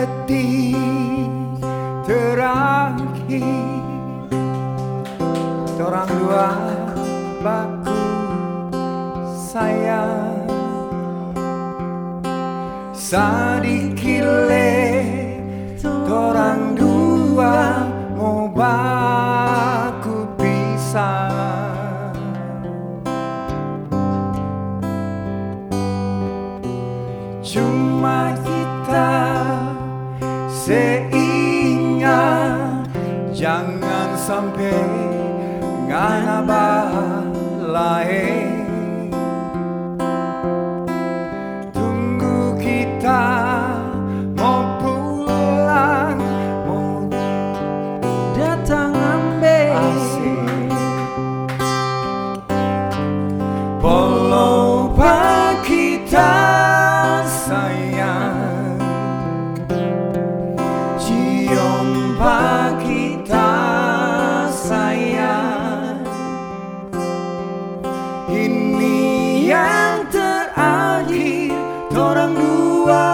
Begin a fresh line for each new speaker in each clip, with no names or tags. Detik-detik terakhir Orang dua baku sayang Sadikile Orang dua mau baku pisah Cuma kita seingat Jangan sampai ngana lain Tunggu kita mau pulang Mau datang ambil asing Polo kita sayang Cium kita sayang Ini yang terakhir Orang dua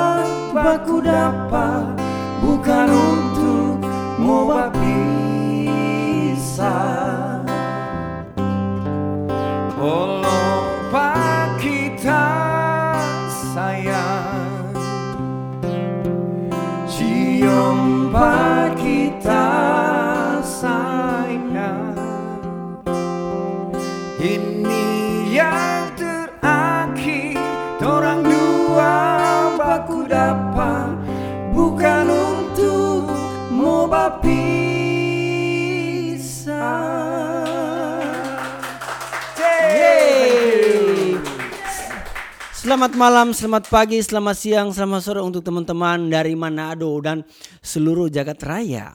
baku dapat Bukan untuk mau pisah Lupa kita sayang Cium kita sayang Ini yang terakhir Orang dua baku dapat Bukan untuk mau berpisah Yeay.
Selamat malam, selamat pagi, selamat siang, selamat sore untuk teman-teman dari Manado dan seluruh jagat raya.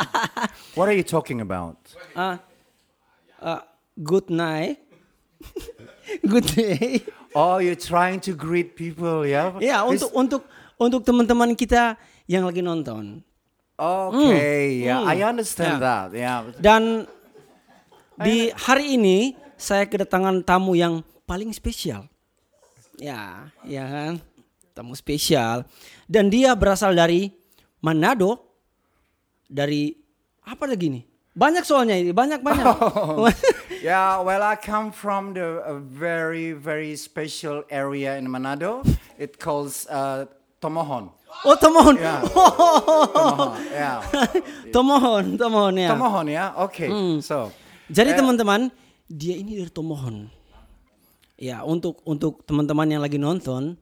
What are you talking about?
Ah, ah, good night. good day.
Oh, you're trying to greet people, yeah?
Ya,
This-
untuk untuk untuk teman-teman kita yang lagi nonton.
Okay, yeah,
mm.
I understand
Yeah.
that. Yeah.
Dan di hari ini saya kedatangan tamu yang paling spesial. Ya, ya kan? Tamu spesial. Dan dia berasal dari Manado. Dari apa lagi nih? Banyak Oh, soalnya ini, banyak-banyak.
Yeah, well, I come from the a very, very special area in Manado. It calls uh, Tomohon.
oh, Tomohon.
Yeah. Tomohon, yeah.
Tomohon, Tomohon ya.
Tomohon, yeah? Okay,
Mm.
so.
Jadi teman-teman, dia ini dari Tomohon. Ya, untuk untuk teman-teman yang lagi nonton,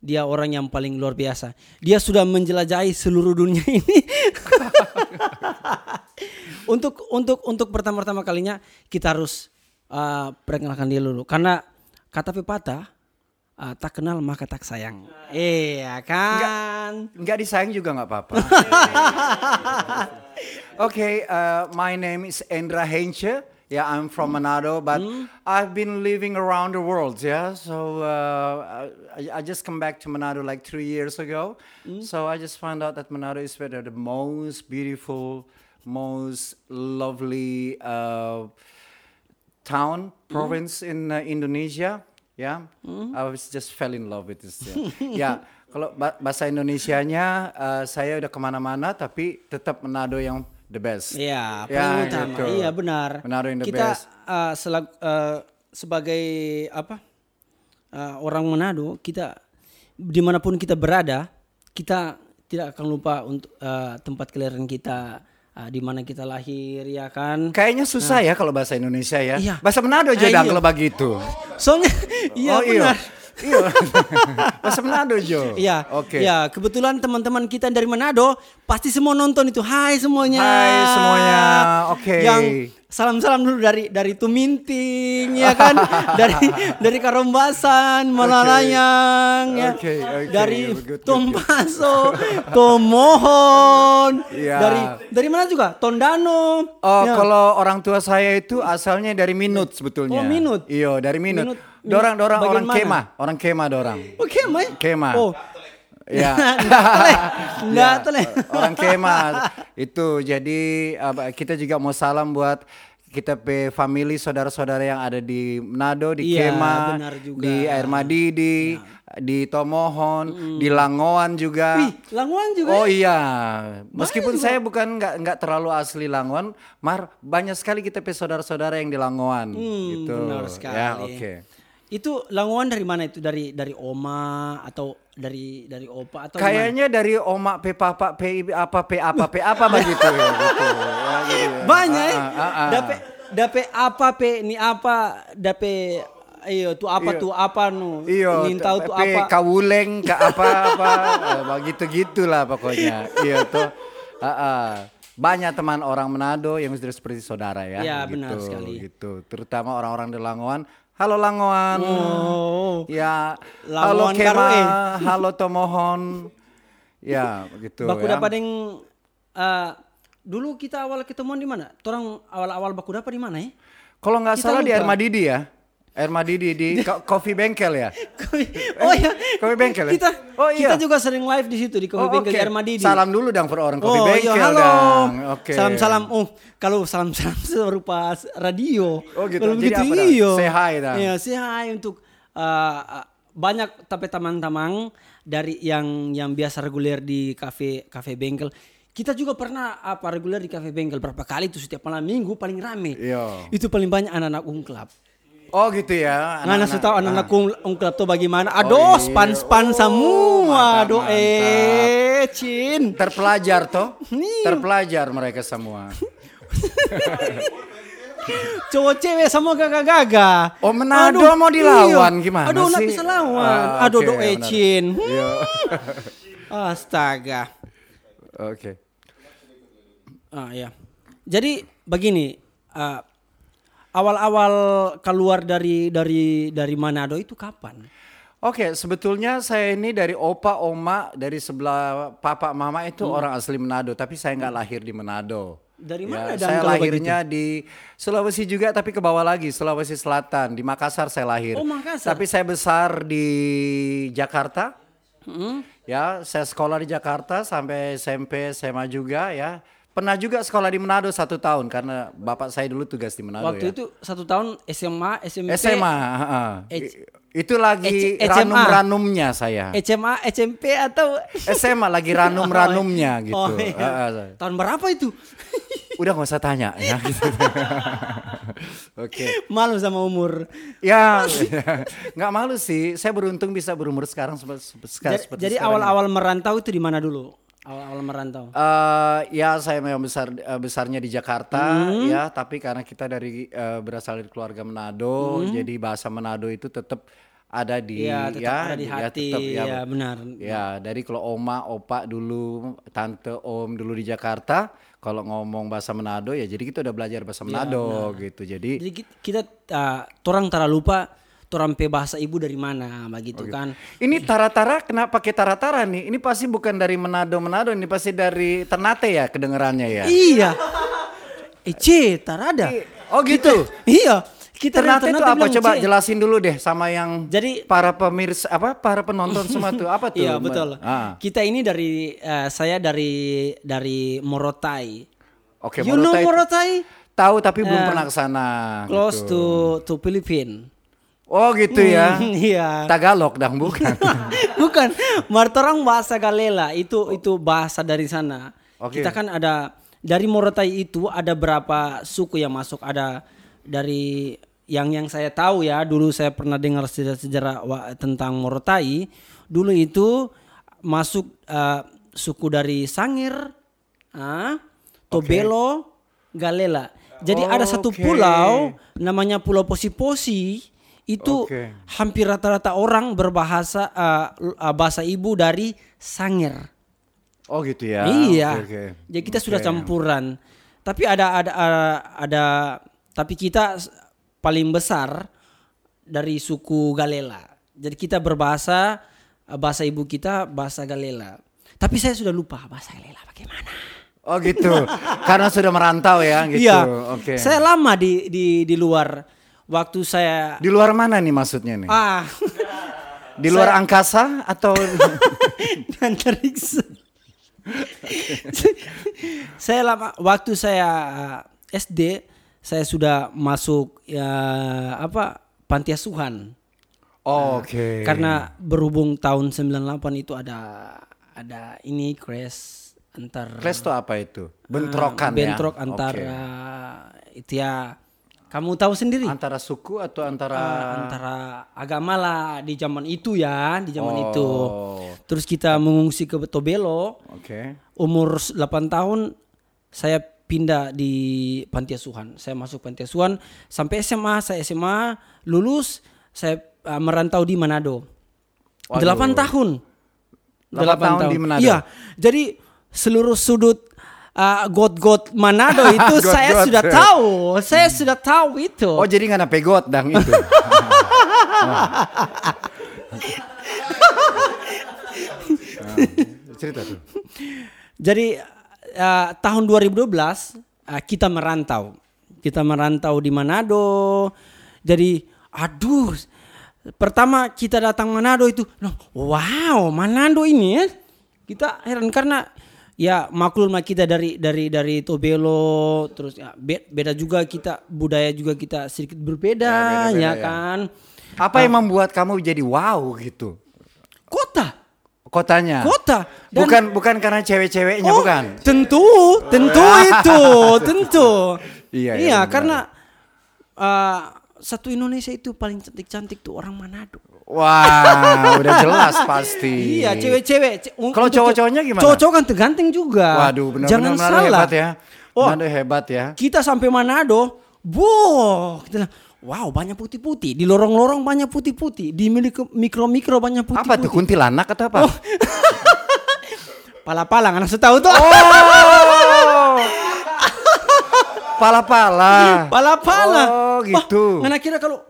dia orang yang paling luar biasa. Dia sudah menjelajahi seluruh dunia ini. untuk untuk untuk pertama-tama kalinya kita harus uh, perkenalkan dia dulu karena kata pepatah uh, tak kenal maka tak sayang. Iya kan?
Nggak disayang juga nggak apa-apa. okay, uh, my name is Endra Henche. Yeah, I'm from Manado, but I've been living around the world. Yeah, so uh, I, I just come back to Manado like three years ago. So I just found out that Manado is where the most beautiful, most lovely. Uh, town
Hmm?
province in uh, Indonesia ya I was just fell in love with this ya Ya, kalau ba- bahasa Indonesianya uh, saya udah kemana-mana tapi tetap Manado yang the best
Iya,
Ya,
paling utama.
gitu.
Iya benar.
Manado yang the
Kita
best
uh, selag- uh, sebagai apa uh, orang Manado, kita dimanapun kita berada, kita tidak akan lupa untuk uh, tempat kelahiran kita, uh, di mana kita lahir, ya kan?
kayaknya susah ya kalau bahasa Indonesia ya
Iya.
bahasa Manado aja
Ah,
dong
iya.
kalau begitu
Soalnya, iya
Oh,
benar.
iya bahasa Manado Jo
Iya,
oke
iya, kebetulan teman-teman kita dari Manado pasti semua nonton itu. Hai semuanya.
Hai semuanya, oke.
Yang salam-salam dulu dari dari Tuminting ya kan, dari dari Karombasan, Malalayang ya.
oke, oke,
dari
good, good, good.
Tompaso, Tomohon.
Iya.
Dari dari mana juga? Tondano.
Oh,
Ya.
kalau orang tua saya itu asalnya dari Minut sebetulnya.
Oh, Minut.
Iya, dari Minut.
Minut-
dorang dorang
bagian
orang
mana?
kema, orang kema dorang.
Oh, Kema. ya?
Kema.
Oh.
Iya.
Nggak toleh. Nggak
Ya,
toleh.
Orang kema itu. Jadi apa, kita juga mau salam buat kita pe family saudara-saudara yang ada di Manado, di
Iya,
Kema,
benar juga. Iya.
di Air Madidi, di Tomohon, di Langoan juga.
Mm. Wih, Langoan juga. ya?
Oh iya, meskipun saya bukan nggak nggak terlalu asli Langoan, Mar banyak sekali kita pe saudara-saudara yang di Langoan
Hmm,
gitu.
Benar sekali.
Ya oke.
Itu langoan dari mana itu? Dari dari oma atau dari dari opa atau gimana?
Kayaknya dari omak pe papa pe ibi- apa pe apa pe apa begitu ya gitu. Ya, gitu ya.
banyak. eh.
Ah, ah, ah, ah.
Dape dape apa pe ini apa dape iyo tuh apa tuh apa nu
Iya,
nintau
pe-
tuh
pe
apa
kawuleng ke apa-apa, gitu-gitulah pokoknya. Iya tuh. Ah, ah. Banyak teman orang Manado yang sudah seperti saudara ya. gitu,
Iya, benar sekali.
Gitu, terutama orang-orang di Langoan. Halo Langoan.
oh
Ya, halo
Langoan
Kema,
karo, eh.
halo Tomohon. Ya, gitu
baku
ya.
dapat yang eh, dulu kita awal ketemuan di mana? Torang awal-awal baku dapat di mana ya?
Kalau nggak
Kita
salah di
lupa.
Ermadidi ya. Ermadidi di ko- Coffee Bengkel ya.
oh ya,
Kopi bengkel ya?
Kita
Oh, iya.
kita juga sering live di situ di kopi
Oh,
bengkel
oke.
Armadidi.
Salam dulu dong per orang Coffee
oh,
Kan
iya,
Bengkel
halo.
dong. Oke.
Salam-salam. Oh, kalau salam-salam serupa s- radio.
Oh, gitu.
Kalau
Jadi
begitu
apa dah?
iyo.
Say hi dah.
Iya, say hi untuk uh, uh, banyak tapi teman-teman dari yang yang biasa reguler di kafe kafe bengkel. Kita juga pernah apa reguler di kafe bengkel berapa kali itu setiap malam minggu paling rame.
Iya.
Itu paling banyak anak-anak ungklap.
Oh gitu ya.
Nah, nah,
anak-anak.
tahu anak-anak ung- ungklap tuh bagaimana? Aduh,
iya. Oh,
span-span semua.
mantap,
Aduh, eh, Cin.
terpelajar toh.
Iya.
Terpelajar mereka semua.
Cowok cewek semua gagah-gagah.
Oh, Manado mau dilawan, gimana
iya. Aduh, nak
sih?
bisa lawan.
Ah,
Aduh,
oke,
doe
benar.
Cin. Hmm,
Iya.
Astaga.
Oke.
Ah, ya. Jadi begini, ah, awal-awal keluar dari dari dari Manado itu kapan?
Oke, sebetulnya saya ini dari opa, oma, dari sebelah papa, mama itu orang asli Manado, tapi saya nggak lahir di Manado.
Hmm.
Ya,
Dari mana dan
saya
kalau
lahirnya
gitu?
di Sulawesi juga, tapi ke bawah lagi, Sulawesi Selatan, di Makassar saya lahir.
Oh, Makassar.
Tapi saya besar di Jakarta.
Hmm?
Ya, saya sekolah di Jakarta sampai SMP, SMA juga ya. Pernah juga sekolah di Manado satu tahun karena bapak saya dulu tugas di Manado
Waktu
ya.
itu satu tahun SMA, SMP,
SMA. heeh.
H-
itu lagi
H- SMA.
ranum-ranumnya saya.
SMA, SMP atau
SMA lagi ranum-ranumnya gitu.
Oh, iya.
Ah, ah.
Tahun berapa itu?
Udah nggak usah tanya ya. gitu. Oke.
Malu sama umur.
Ya, nggak malu sih. Saya beruntung bisa berumur sekarang seperti,
Ja-
seperti sekarang.
Jadi, awal-awal merantau itu di mana dulu? Awal-awal merantau.
Eh, ya saya memang besar eh, besarnya di Jakarta
Hmm.
ya, tapi karena kita dari eh, berasal dari keluarga Manado, jadi bahasa Manado itu tetap ada di
Hmm. Iya, tetap
ya,
ada di
ya,
hati.
tetap, ya,
ya, benar.
Ya, dari kalau oma, opa dulu, tante, om dulu di Jakarta, kalau ngomong bahasa Manado ya jadi kita udah belajar bahasa
Iya,
Manado gitu. Jadi
Jadi ki- kita ah, torang tara lupa torang pe bahasa ibu dari mana begitu kan.
ini tara-tara kenapa pakai tara-tara nih? Ini pasti bukan dari Manado Manado, ini pasti dari Ternate ya kedengerannya ya.
Iya. Ece tarada.
Oh gitu.
Iya. Kita dari
Ternate itu apa
bilang
coba
"Ce."
jelasin dulu deh sama yang
Jadi-
para pemirsa apa para penonton semua tuh apa tuh?
Iya betul.
Ah.
Kita ini dari eh, saya dari dari Morotai.
Oke,
you know
Morotai-
Eh. Morotai?
Tahu tapi belum pernah ke sana.
Close
gitu.
to to Philippine.
Oh gitu ya.
Hmm, Iya.
Tagalog dong bukan.
Bukan, martorang bahasa Galela itu itu bahasa dari sana.
Oke.
Kita kan ada dari Morotai itu ada berapa suku yang masuk? Ada dari yang yang saya tahu ya, dulu saya pernah dengar sejarah-sejarah wa- tentang Morotai. Dulu itu masuk eh, suku dari Sangir, ah, Tobelo, Galela. Jadi ada satu
Oke.
pulau namanya Pulau Posi-Posi itu
Oke.
hampir rata-rata orang berbahasa uh, l- uh, bahasa ibu dari Sangir.
Oh gitu ya.
iya.
Oke, oke.
Jadi kita sudah
Oke.
campuran. Tapi ada ada ada, ada- tapi kita s- paling besar dari suku Galela. Jadi kita berbahasa uh, bahasa ibu kita bahasa Galela. Tapi saya sudah lupa bahasa Galela bagaimana.
Oh gitu. Karena sudah merantau ya gitu.
Iya.
Oke.
Saya lama di di di luar waktu saya
Di luar mana nih maksudnya nih?
ah
Di luar angkasa atau
di antariksa. saya lama waktu saya uh, SD eh, saya sudah masuk ya apa panti asuhan
Oh, Oke.
karena berhubung tahun 98 itu ada ada ini crash antar eh,
Clash itu apa itu? Bentrokan ya.
Ah, bentrok
Oke.
antara itu ya kamu tahu sendiri
antara suku atau antara
Ah, antara agama lah di zaman itu ya di zaman itu
Oh.
terus kita mengungsi ke Tobelo
Oke.
umur 8 tahun saya pindah di panti asuhan. Saya masuk panti asuhan sampai SMA, saya SMA lulus, saya eh, merantau di Manado.
Waduh.
8 tahun.
Delapan
Delapan
tahun di Manado.
Iya. Jadi seluruh sudut eh, got-got Manado itu saya
Got-got.
sudah tahu. Saya sudah tahu itu.
Oh jadi nggak ada pegot dang itu. Ah. Nah, cerita tuh.
Jadi eh, tahun 2012 eh, kita merantau. Kita merantau di Manado. Jadi aduh pertama kita datang Manado itu loh, wow Manado ini ya. Kita heran karena ya maklumlah kita dari dari dari Tobelo terus ya, be- beda juga kita budaya juga kita sedikit berbeda ya,
beda-beda, ya.
kan.
Apa yang membuat kamu jadi wow gitu?
Kota
Kotanya.
Kota. Dan-
bukan bukan karena cewek-ceweknya Iya,
Oh,
bukan.
Tentu, tentu itu, tentu.
Iya, iya, benar.
karena eh, satu Indonesia itu paling cantik-cantik tuh orang Manado.
Wah, udah jelas pasti.
Iya, cewek-cewek. ce- un-
Kalau
untuk-
cowok-cowoknya gimana?
Cowok-cowok ganteng-ganteng juga.
Waduh, benar-benar
Jangan
Manado
salah.
hebat ya.
Oh,
Manado hebat ya.
kita sampai Manado, boh, kita bilang, wow banyak putih-putih. Di lorong-lorong banyak putih-putih. Di milik- mikro-mikro banyak
Apa
putih-putih.
tuh kuntilanak atau
Oh.
apa?
Pala-pala, nggak langsung tahu tuh.
Oh.
Iya,
Pala-pala.
Pala-pala.
Oh, gitu.
Wah, ngana kira kalau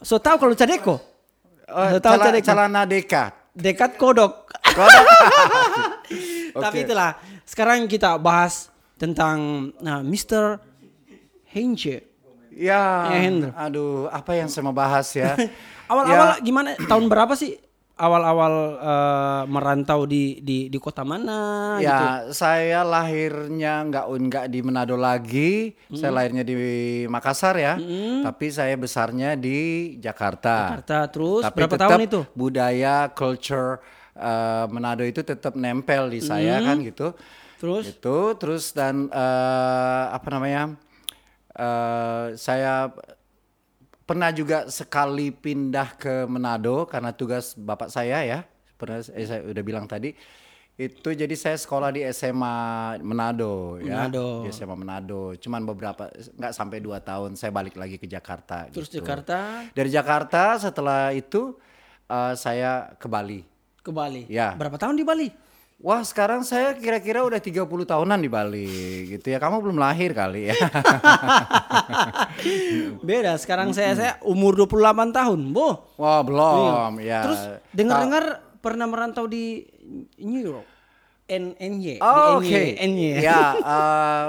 so tahu kalau cadeko.
Oh,
so tahu
cala-
cadeko.
calana dekat.
Dekat kodok. Tapi
Oke.
itulah. Sekarang kita bahas tentang nah, Mr. Henge.
Ya,
Ya, Hendro.
aduh, apa yang saya mau bahas ya? Ya,
Awal-awal gimana? Tahun berapa sih? Awal-awal eh, merantau di di di kota mana
ya,
gitu.
saya lahirnya nggak nggak di Manado lagi. Saya lahirnya di Makassar ya, tapi saya besarnya di Jakarta.
Jakarta terus
Tapi
berapa
tetap
tahun itu?
Budaya, culture eh, Manado itu tetap nempel di saya kan gitu.
Terus
Itu terus dan eh, apa namanya? eh, saya pernah juga sekali pindah ke Manado karena tugas bapak saya ya. Pernah eh, saya udah bilang tadi itu jadi saya sekolah di SMA Manado ya.
Manado.
Di SMA Manado. Cuman beberapa nggak sampai dua tahun saya balik lagi ke Jakarta
terus
gitu.
Jakarta
Dari Jakarta setelah itu eh, saya ke Bali.
ke Bali.
Ya.
Berapa tahun di Bali?
Wah sekarang saya kira-kira udah 30 tahunan di Bali gitu ya. Kamu belum lahir kali ya.
Beda. Sekarang saya saya umur 28 tahun. Boh.
Wah belum ya.
Iya. Terus dengar-dengar pernah merantau di New York. N NY. di
Oh,
NY,
Oke.
NY.
Ya eh,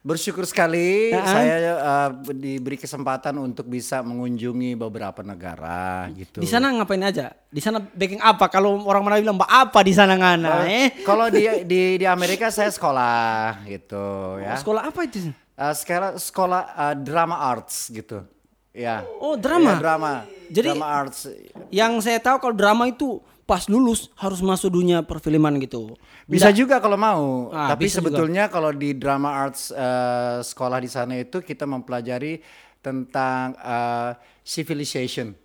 bersyukur sekali
Ya.
saya eh, diberi kesempatan untuk bisa mengunjungi beberapa negara gitu.
Di sana ngapain aja? Di sana baking apa? Kalau orang Manado bilang mbak apa di sana ngana? Eh.
Kalau di di di Amerika saya sekolah gitu ya.
Sekolah apa itu?
Eh, sekarang sekolah eh, drama arts gitu. Ya.
Oh,
Iya,
drama?
drama.
Jadi-
drama arts.
Yang saya tahu kalau drama itu pas lulus harus masuk dunia perfilman gitu.
Bisa juga kalau mau.
Ah,
Tapi
bisa juga.
sebetulnya kalau di drama arts eh, sekolah di sana itu kita mempelajari tentang eh, civilization.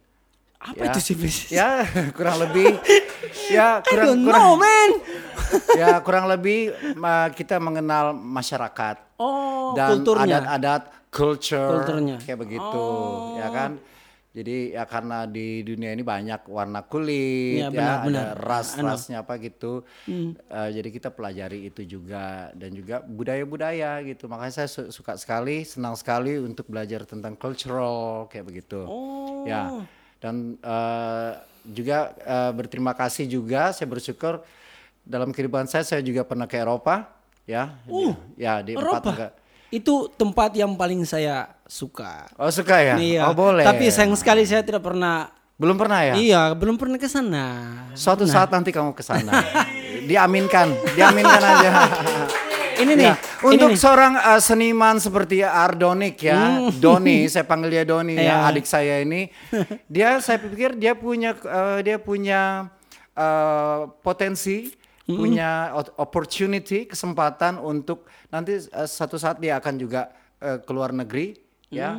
Apa itu sih? Fis?
Ya, kurang lebih ya
I
kurang
don't
kurang
know, man.
ya kurang lebih ma- kita mengenal masyarakat.
Oh,
dan
kulturnya.
adat-adat culture
Kulturnya. Oh.
kayak begitu ya kan jadi ya karena di dunia ini banyak warna kulit ya,
Iya, benar, benar.
ada ras-rasnya apa gitu
Hmm.
Eh, jadi kita pelajari itu juga dan juga budaya-budaya gitu makanya saya su- suka sekali senang sekali untuk belajar tentang cultural kayak begitu
Oh.
ya dan eh, juga eh, berterima kasih juga saya bersyukur dalam kehidupan saya saya juga pernah ke Eropa ya ya di empat
Uh, Eropa.
negara-
Itu tempat yang paling saya suka.
Oh suka ya?
Iya.
Oh boleh.
Tapi sayang sekali saya tidak pernah
belum pernah ya.
Iya, belum pernah ke sana.
Suatu saat nanti kamu ke sana. diaminkan, diaminkan aja.
Ini nih,
Ya, Untuk
nih. Hmm.
seorang eh, seniman seperti Ardonik ya, Doni, saya panggil dia Doni
Iya.
ya, adik saya ini. Dia saya pikir dia punya eh, dia punya eh, potensi,
Hmm.
punya ot- opportunity, kesempatan untuk nanti eh, satu saat dia akan juga eh, keluar negeri
Hmm.
ya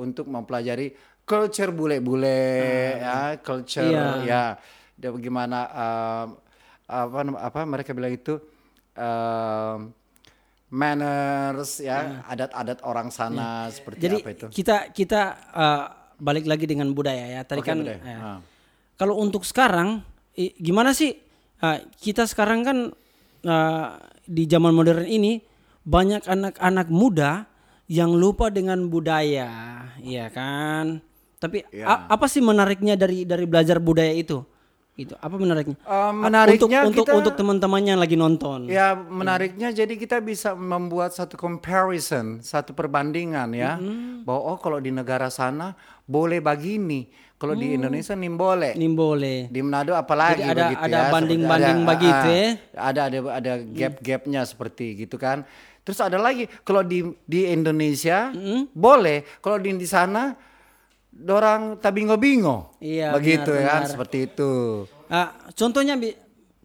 untuk mempelajari culture bule-bule ya, culture
Hmm. Iya.
ya. Dia bagaimana eh, apa nam- apa mereka bilang itu eh, manners ya adat-adat orang sana seperti
Jadi
apa itu
kita kita eh, balik lagi dengan budaya ya. Tadi
Oke,
kan
budaya.
eh,
Ah.
kalau untuk sekarang i- gimana sih Eh, kita sekarang kan eh, di zaman modern ini banyak anak-anak muda yang lupa dengan budaya, iya kan? Tapi
Ya.
a- apa sih menariknya dari dari belajar budaya itu? Itu apa menariknya?
Eh,
untuk
menariknya
untuk
kita-
untuk teman-teman yang lagi nonton.
Ya menariknya jadi kita bisa membuat satu comparison, satu perbandingan ya. Bahwa oh kalau di negara sana boleh begini, kalau di Indonesia nih boleh.
Ini boleh.
Di Manado apalagi
Jadi ada-
begitu
ada
ya. seperti
banding-banding
ah,
begitu ya.
Ada ada ada gap-gapnya seperti gitu kan. Terus ada lagi kalau di di Indonesia boleh, kalau di di sana dorang tabingo-bingo.
Iya,
Begitu
benar,
ya
benar.
seperti itu.
Ah, contohnya Bi.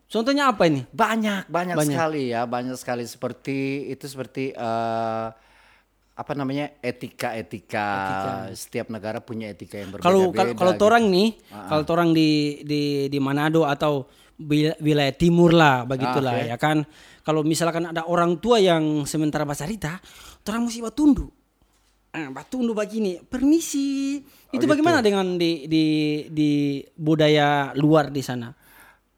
contohnya apa ini?
Banyak, banyak sekali ya, banyak sekali seperti itu seperti eh, apa namanya etika-etika. Setiap negara punya etika yang berbeda.
Kalau kalau
gitu.
kalau torang nih,
Ah,
kalau torang di di di Manado atau wil- wilayah timur lah
Ah,
begitulah ya kan. Kalau misalkan ada orang tua yang sementara bahasa Rita, torang mesti batundu. Ah, batundu begini, permisi.
Oh,
Itu
gitu.
bagaimana dengan di di di budaya luar di sana?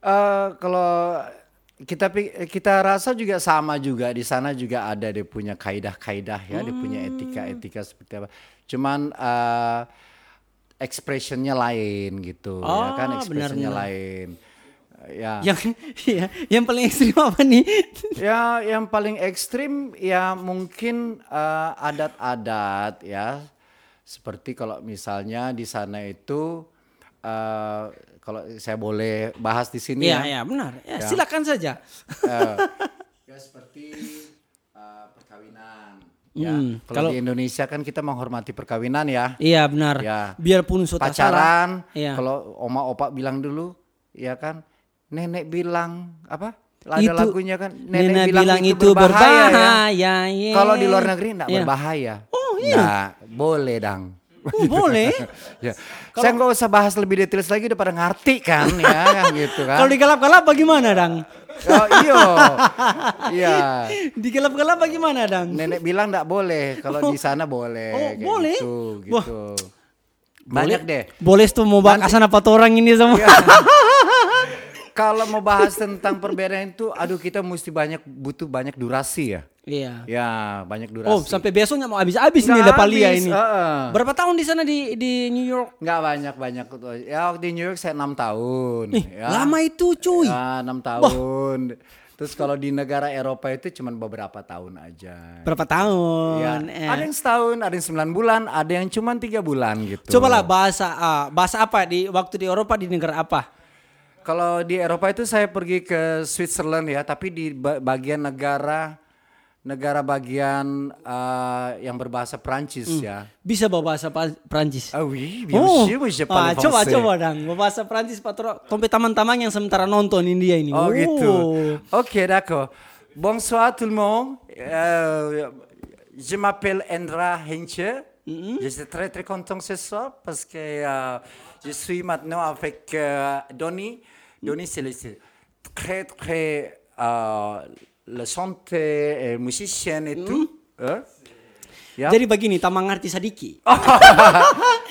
Eh, kalau kita pi- kita rasa juga sama juga di sana juga ada dia punya kaidah-kaidah ya, dia punya
Hmm.
etika-etika seperti apa. Cuman eh expressionnya lain gitu, ya kan
Ah,
expressionnya lain. Ya.
Yang ya, yang paling ekstrim apa nih?
Ya, yang paling ekstrim ya mungkin eh, adat-adat ya. Seperti kalau misalnya di sana itu eh, kalau saya boleh bahas di sini
Iya
ya.
ya benar. Ya, silakan saja.
Eh, ya seperti eh, perkawinan. Ya,
Hmm,
kalau di Indonesia kan kita menghormati perkawinan ya.
Iya benar.
Ya.
Biarpun sota salah.
Pacaran,
Iya.
kalau oma opa bilang dulu, ya kan. Nenek bilang apa? Ada
Itu,
lagunya kan. Nenek,
Nenek
bilang, itu berbahaya. ya.
ya.
Kalau di luar negeri enggak
Iya.
berbahaya. Oh iya. boleh dang.
Oh, boleh.
Ya. Saya nggak usah bahas lebih detail lagi udah pada ngerti kan ya kan gitu kan.
Kalau digelap-gelap bagaimana, Dang?
Oh iyo. Iya.
Digelap-gelap bagaimana, Dang?
Nenek bilang enggak boleh, kalau di sana boleh.
Oh,
kayak
boleh?
Gitu,
Wah.
gitu. Banyak deh.
Boleh tuh mau bakasan apa tuh orang ini sama.
Iya. Kalau mau bahas tentang perbedaan itu, aduh kita mesti banyak butuh banyak durasi ya.
Iya.
Ya, banyak durasi.
Oh, sampai besoknya mau habis-habis nih
Nggak
ada palia
habis,
Oh, ini.
heeh.
Berapa tahun di sana di di New York?
Enggak banyak-banyak. Ya waktu di New York saya enam tahun.
Ih,
ya.
lama itu, cuy.
Ya, enam tahun. Terus kalau di negara Eropa itu cuman beberapa tahun aja.
Berapa
Ya,
tahun? Eh.
Ada yang setahun, ada yang sembilan bulan, ada yang cuman tiga bulan gitu.
Cobalah bahasa ah, bahasa apa di waktu di Eropa di negara apa?
Kalau di Eropa itu saya pergi ke Switzerland ya, tapi di ba- bagian negara negara bagian eh, yang berbahasa Perancis
Hmm.
ya.
Bisa bawa bahasa Pa- Perancis.
Ah oui, bien
Oh,
sûr, je parle
ah, coba
français.
coba dong bahasa Prancis patro tompe taman-taman yang sementara nonton India ini.
Oh
Wow.
gitu. Ok, d'accord. Bonsoir tout le monde. Euh, je m'appelle Endra Henche. Je suis très très content ce soir parce que euh, je suis maintenant avec euh, Donny. Donny, c'est le c'est très très euh, le chanteur et musicien et tout. Hein? Ya.
Jadi begini, tamang ngerti sadiki.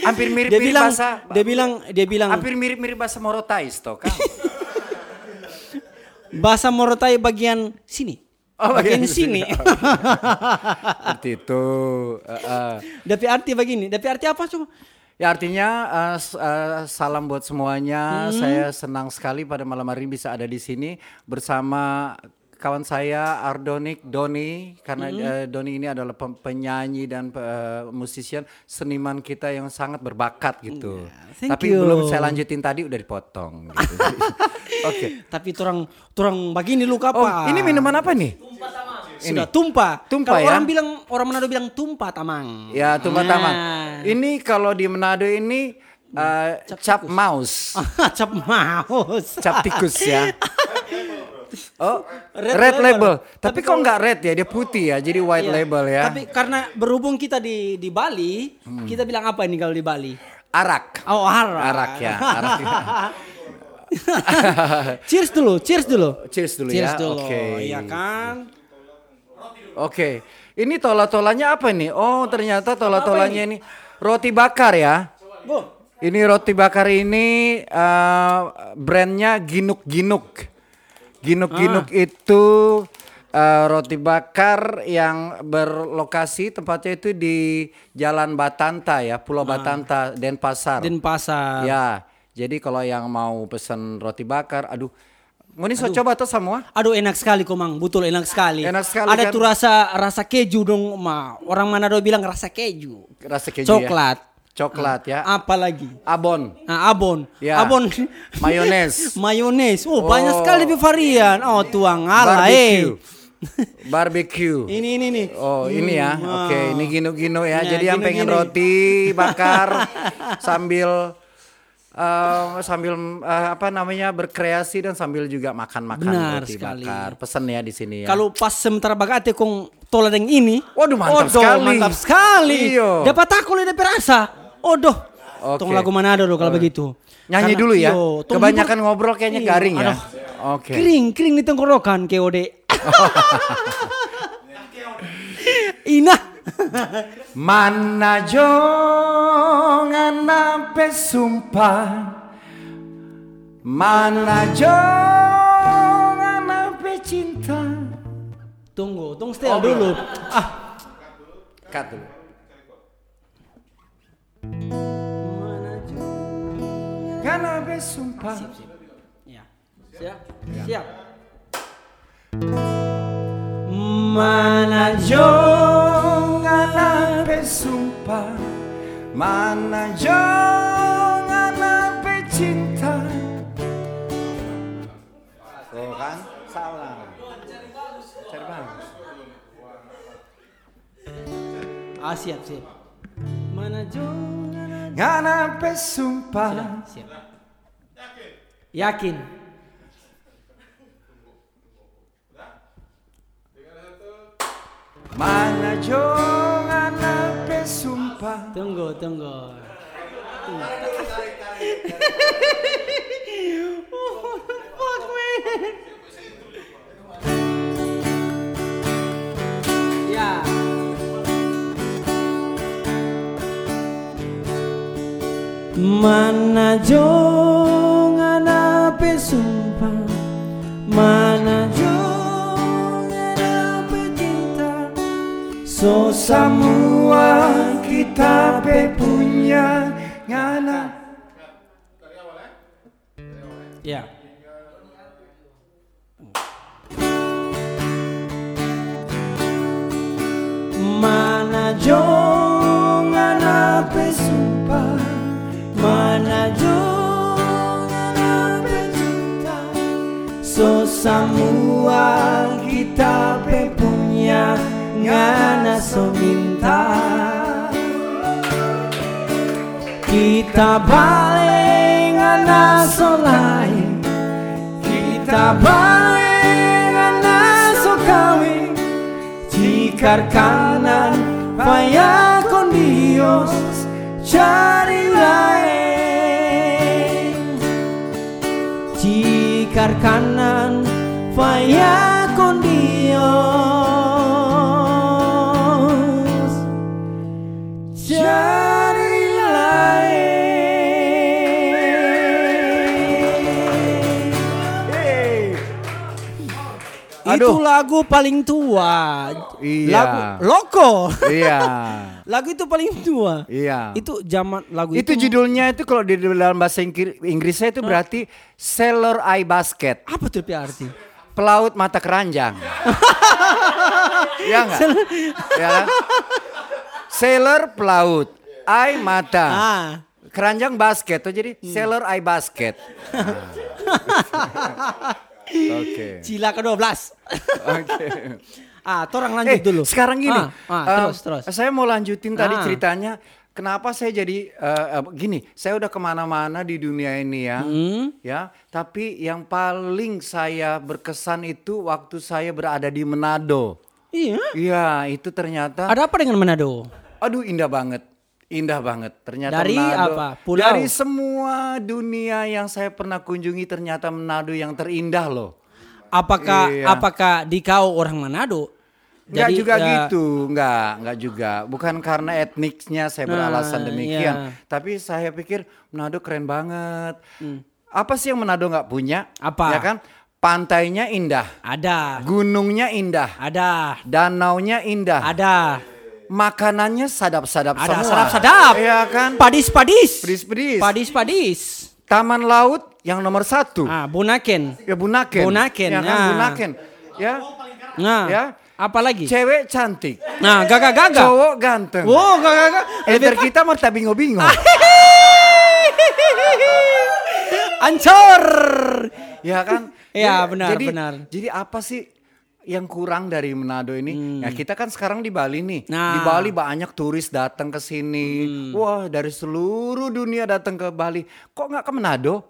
hampir
dia
mirip-mirip
bilang,
bahasa
dia bilang, dia bilang
hampir mirip-mirip bahasa Morotais toh kan.
bahasa Morotai bagian sini,
Oh, bagian
bagian sini.
sini. Oh. Seperti itu. Eh, eh.
Tapi arti begini, tapi arti apa coba?
Ya artinya eh, s- eh, salam buat semuanya.
Hmm.
Saya senang sekali pada malam hari ini bisa ada di sini bersama kawan saya Ardonik Doni karena
Hmm.
eh, Doni ini adalah pem- penyanyi dan eh, musician seniman kita yang sangat berbakat gitu.
Iya, thank
Tapi
you.
belum saya lanjutin tadi udah dipotong. Gitu. Oke.
Tapi turang, turang begini lu apa?
Oh ini minuman apa nih? ini.
Sudah tumpah.
Tumpah,
Kalau
ya?
orang bilang orang Manado bilang tumpah tamang.
Ya, tumpah
Nah.
tamang. Ini kalau di Manado ini eh, cap mouse,
cap maus.
cap tikus ya. Oh,
Red
red,
label.
label.
Tapi
Tapi, kok
kalau-
nggak red ya? Dia putih ya, jadi white
Iya.
label ya. Hmm.
Tapi karena berhubung kita di di Bali, kita bilang apa ini kalau di Bali?
Arak.
Oh, arak.
Arak ya, arak ya.
cheers dulu, cheers dulu.
Cheers dulu
cheers
ya.
dulu.
Oke.
Iya kan?
Oke. Ini tola-tolanya apa nih? Oh, ternyata tola-tolanya ini? roti bakar ya.
Bu,
Ini roti bakar ini eh, brandnya Ginuk Ginuk. Ginuk Ginuk itu eh, roti bakar yang berlokasi tempatnya itu di Jalan Batanta ya, Pulau Batanta, Denpasar.
Denpasar.
Ya. Jadi kalau yang mau pesan roti bakar, aduh, mau ini saya coba atau semua?
Aduh enak sekali Komang, betul enak sekali.
Enak sekali,
Ada
kan?
tuh rasa rasa keju dong, Ma. Orang Manado bilang rasa keju.
Rasa keju ya.
Coklat, Ah.
Coklat ya.
apa lagi?
Abon.
Ah, abon.
Ya.
Abon.
Mayones.
Mayones.
Oh.
Oh, banyak sekali varian. Oh, tuang ala eh.
Barbecue. Barbecue.
Ini ini nih.
Oh ini ya,
Hmm,
oke
wow.
ini gino-gino ya.
Nah,
Jadi yang pengen
gino-gino.
roti bakar sambil eh, sambil eh, apa namanya berkreasi dan sambil juga makan-makan
Benar
roti
sekali.
bakar. Pesen ya di sini ya.
Kalau pas sementara bagate kong toladeng ini.
Waduh, mantap
odoh,
sekali.
Mantap sekali.
Iyo.
Dapat aku lihat perasa. Odoh.
Oke.
Tong lagu Manado loh kalau begitu.
nyanyi
Karena-
dulu ya.
iyo, tong
Kebanyakan
libur-
ngobrol kayaknya
iyo,
garing ya.
aduh.
Oke.
Kering, kering di tenggorokan KOD. Ina.
Mana jongan sampai sumpah Mana jongan sampai cinta
Tunggu, tong setel dulu. Ah,
Cut dulu. Karena bersumpah
Ya. Siap.
Ya.
Siap. Mana
Jangan sampai sumpah Mana jangan sampai cinta Tuh kan, salah Cari bagus
Ah, siap, siap. Mana jangan
Jangan sampai sumpah
siap. Yakin.
Mana jangan sampai sumpah
Tunggu, tunggu. Oh, fuck man. Ya. Mana jangan ape sumpah Mana jangan ape cinta
So semua kita pe punya ngana
Ya Mana
Jangan sampai sumpah
Mana jangan ape cinta So semua kita pe punya Ngana so minta Kita balik ngana so lain Kita balik ngana so kawin Jikar kanan Faya con Dios Cari lain Jikar kanan Faya con Dios Cari lain Itu
Aduh.
lagu paling tua.
Iya.
Lagu Loko.
Iya
lagu itu paling tua.
Iya
Itu zaman lagu itu.
Itu judulnya itu kalau di dalam bahasa Inggris- Inggrisnya itu berarti Sailor Eye Basket
apa tuh dia arti?
Pelaut mata keranjang Iya nggak? Ya kan? Sailor pelaut Eye mata
Ah. Hmm.
Keranjang basket tuh jadi Sailor Eye Basket Nah. Oke
Cila ke-12.
Oke.
Ah, atau orang
eh,
lanjut dulu.
Sekarang gini,
Ah, ah,
eh,
terus terus.
Saya mau lanjutin tadi
Ah.
ceritanya. Kenapa saya jadi eh, eh, gini? Saya udah kemana-mana di dunia ini ya,
Hmm.
ya. Tapi yang paling saya berkesan itu waktu saya berada di Manado.
Iya.
Iya, itu ternyata
Ada apa dengan Manado?
Aduh indah banget. Indah banget. Ternyata
Dari
Manado-
apa? Pulau?
Dari semua dunia yang saya pernah kunjungi ternyata Manado yang terindah loh.
Apakah
Iya.
apakah di kau orang Manado?
Enggak juga
eh,
gitu, enggak, enggak juga. Bukan karena etniknya saya beralasan
Nah,
demikian,
iya.
tapi saya pikir Manado keren banget. Apa sih yang Manado nggak punya?
Hmm. Apa?
Ya kan? Pantainya indah,
Ada,
gunungnya indah,
ada,
danaunya indah,
ada,
makanannya sadap-sadap
ada.
semua.
Sadap-sadap.
Iya kan?
Padis-padis.
Pedis-pedis.
Padis-padis.
Taman laut yang nomor satu.
Ah, Bunaken.
Ya Bunaken.
Bunaken,
Ya kan
nah.
Bunaken. Ya.
Nah,
Ya.
apa lagi?
Cewek cantik,
Nah, gagah-gagah.
cowok Eh. ganteng.
Wow, gagah-gagah. Lebih
Editor kita merta bingung-bingung.
Ah. Ancur.
ya kan?
Ya,
Jadi-
benar,
jadi,
benar.
Jadi apa sih yang kurang dari Manado ini? Ya kita kan sekarang di Bali nih. Di
Hmm. Nah. Hmm.
Bali banyak turis datang ke sini. Wah, dari seluruh dunia datang ke Bali. Kok nggak ke Manado?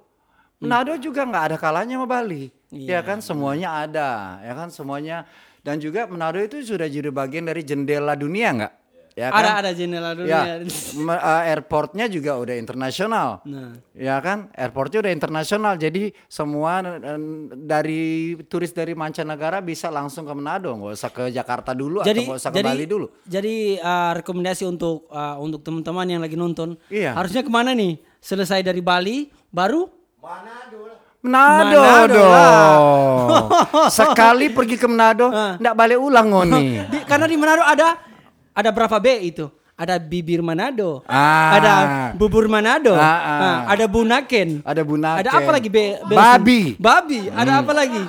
Hmm.
Manado juga nggak ada kalahnya sama Bali. Ya
Iya.
kan semuanya ada, ya kan semuanya dan juga Manado itu sudah jadi bagian dari jendela dunia nggak? Ya kan?
Ada ada jendela
Ya,
dunia.
me- uh, airportnya juga udah internasional.
Nah.
Ya kan, airportnya udah internasional. Jadi semua eh, dari turis dari mancanegara bisa langsung ke Manado, nggak usah ke Jakarta dulu atau nggak usah ke Bali dulu.
Jadi uh, rekomendasi untuk uh, untuk teman-teman yang lagi nonton,
Iya.
harusnya kemana nih? Selesai dari Bali, baru
Manado,
Manado
dong.
lah.
Sekali pergi ke Manado,
Ah.
nggak balik ulang ngoni.
di, karena di Manado ada ada berapa B itu? Ada bibir Manado,
Ah.
ada bubur Manado,
Ah, ah.
ah, ada bunaken,
Ada Bunaken.
ada apa lagi? B, B-
Babi. Hmm.
babi, ada apa lagi?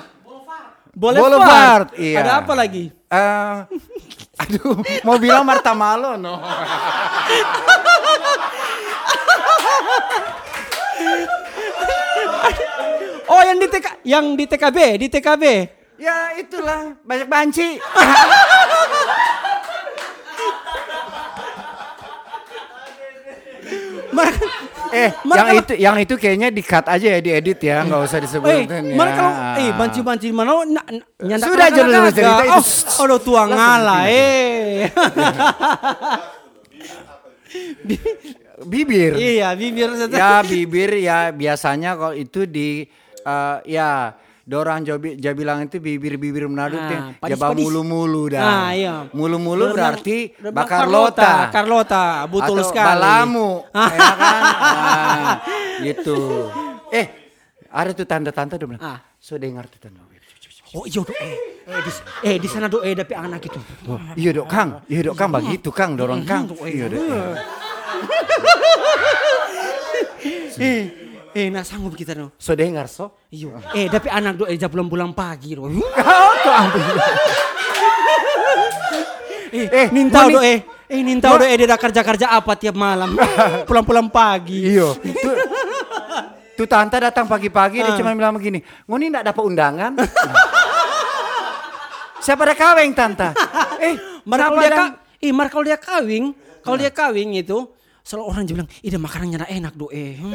Boulevard,
Boulevard, iya.
ada apa lagi?
Eh, aduh, mau bilang Marta Malo, no.
Oh yang di TK, yang di TKB, di TKB.
Ya itulah banyak banci.
Mar-
Eh,
Mar-
yang itu yang itu kayaknya di cut aja ya, diedit ya, nggak usah
Eh,
disebutin ya.
mana kalau eh banci-banci mana na, na, nyandak
Eh, Sudah
anak-anak
jodoh
kagak.
cerita itu.
Oh, aduh tua ngalah eh.
bibir.
iya, bibir
Ya bibir ya biasanya kalau itu di eh, ya dorang jabi bilang itu bibir-bibir Manado
Ah,
tuh yang- ya
padis-padis.
bang mulu-mulu dah.
Ah, iya.
Mulu-mulu
Dorang-
berarti
dorang
bakar
Carlota,
lota.
Carlota, butul
atau
sekali.
balamu. ya kan? Ah, gitu. Eh, ada tuh tanda-tanda udah bilang.
Ah.
So dengar tuh tanda.
Oh, iya dok. Eh, eh di, eh di sana dok eh tapi anak itu.
Iya dok Kang, iya dok Kang begitu Kang dorong Kang.
Hmm.
Iya dok.
Eh, eh nak sanggup kita dok.
So dengar so.
Iyo. Eh tapi anak dok eh belum pulang pagi dok.
Eh,
Eh, nintau
mani-
dok eh. Eh nintau dok eh dia dah kerja-kerja apa tiap malam. Pulang-pulang pagi.
Iya. Tuh, tuh tante datang pagi-pagi
Ah.
dia cuma bilang begini, ngoni ndak dapat undangan. Siapa ada kaweng tante? Eh,
Mar
siapa
kalau dia
ada-
ka- ih, Mar kalau dia kawin, kalau
Iya.
dia kawin itu selalu orang aja bilang, "Ih, dia makanannya enak, enak, Dok." Eh. Hmm.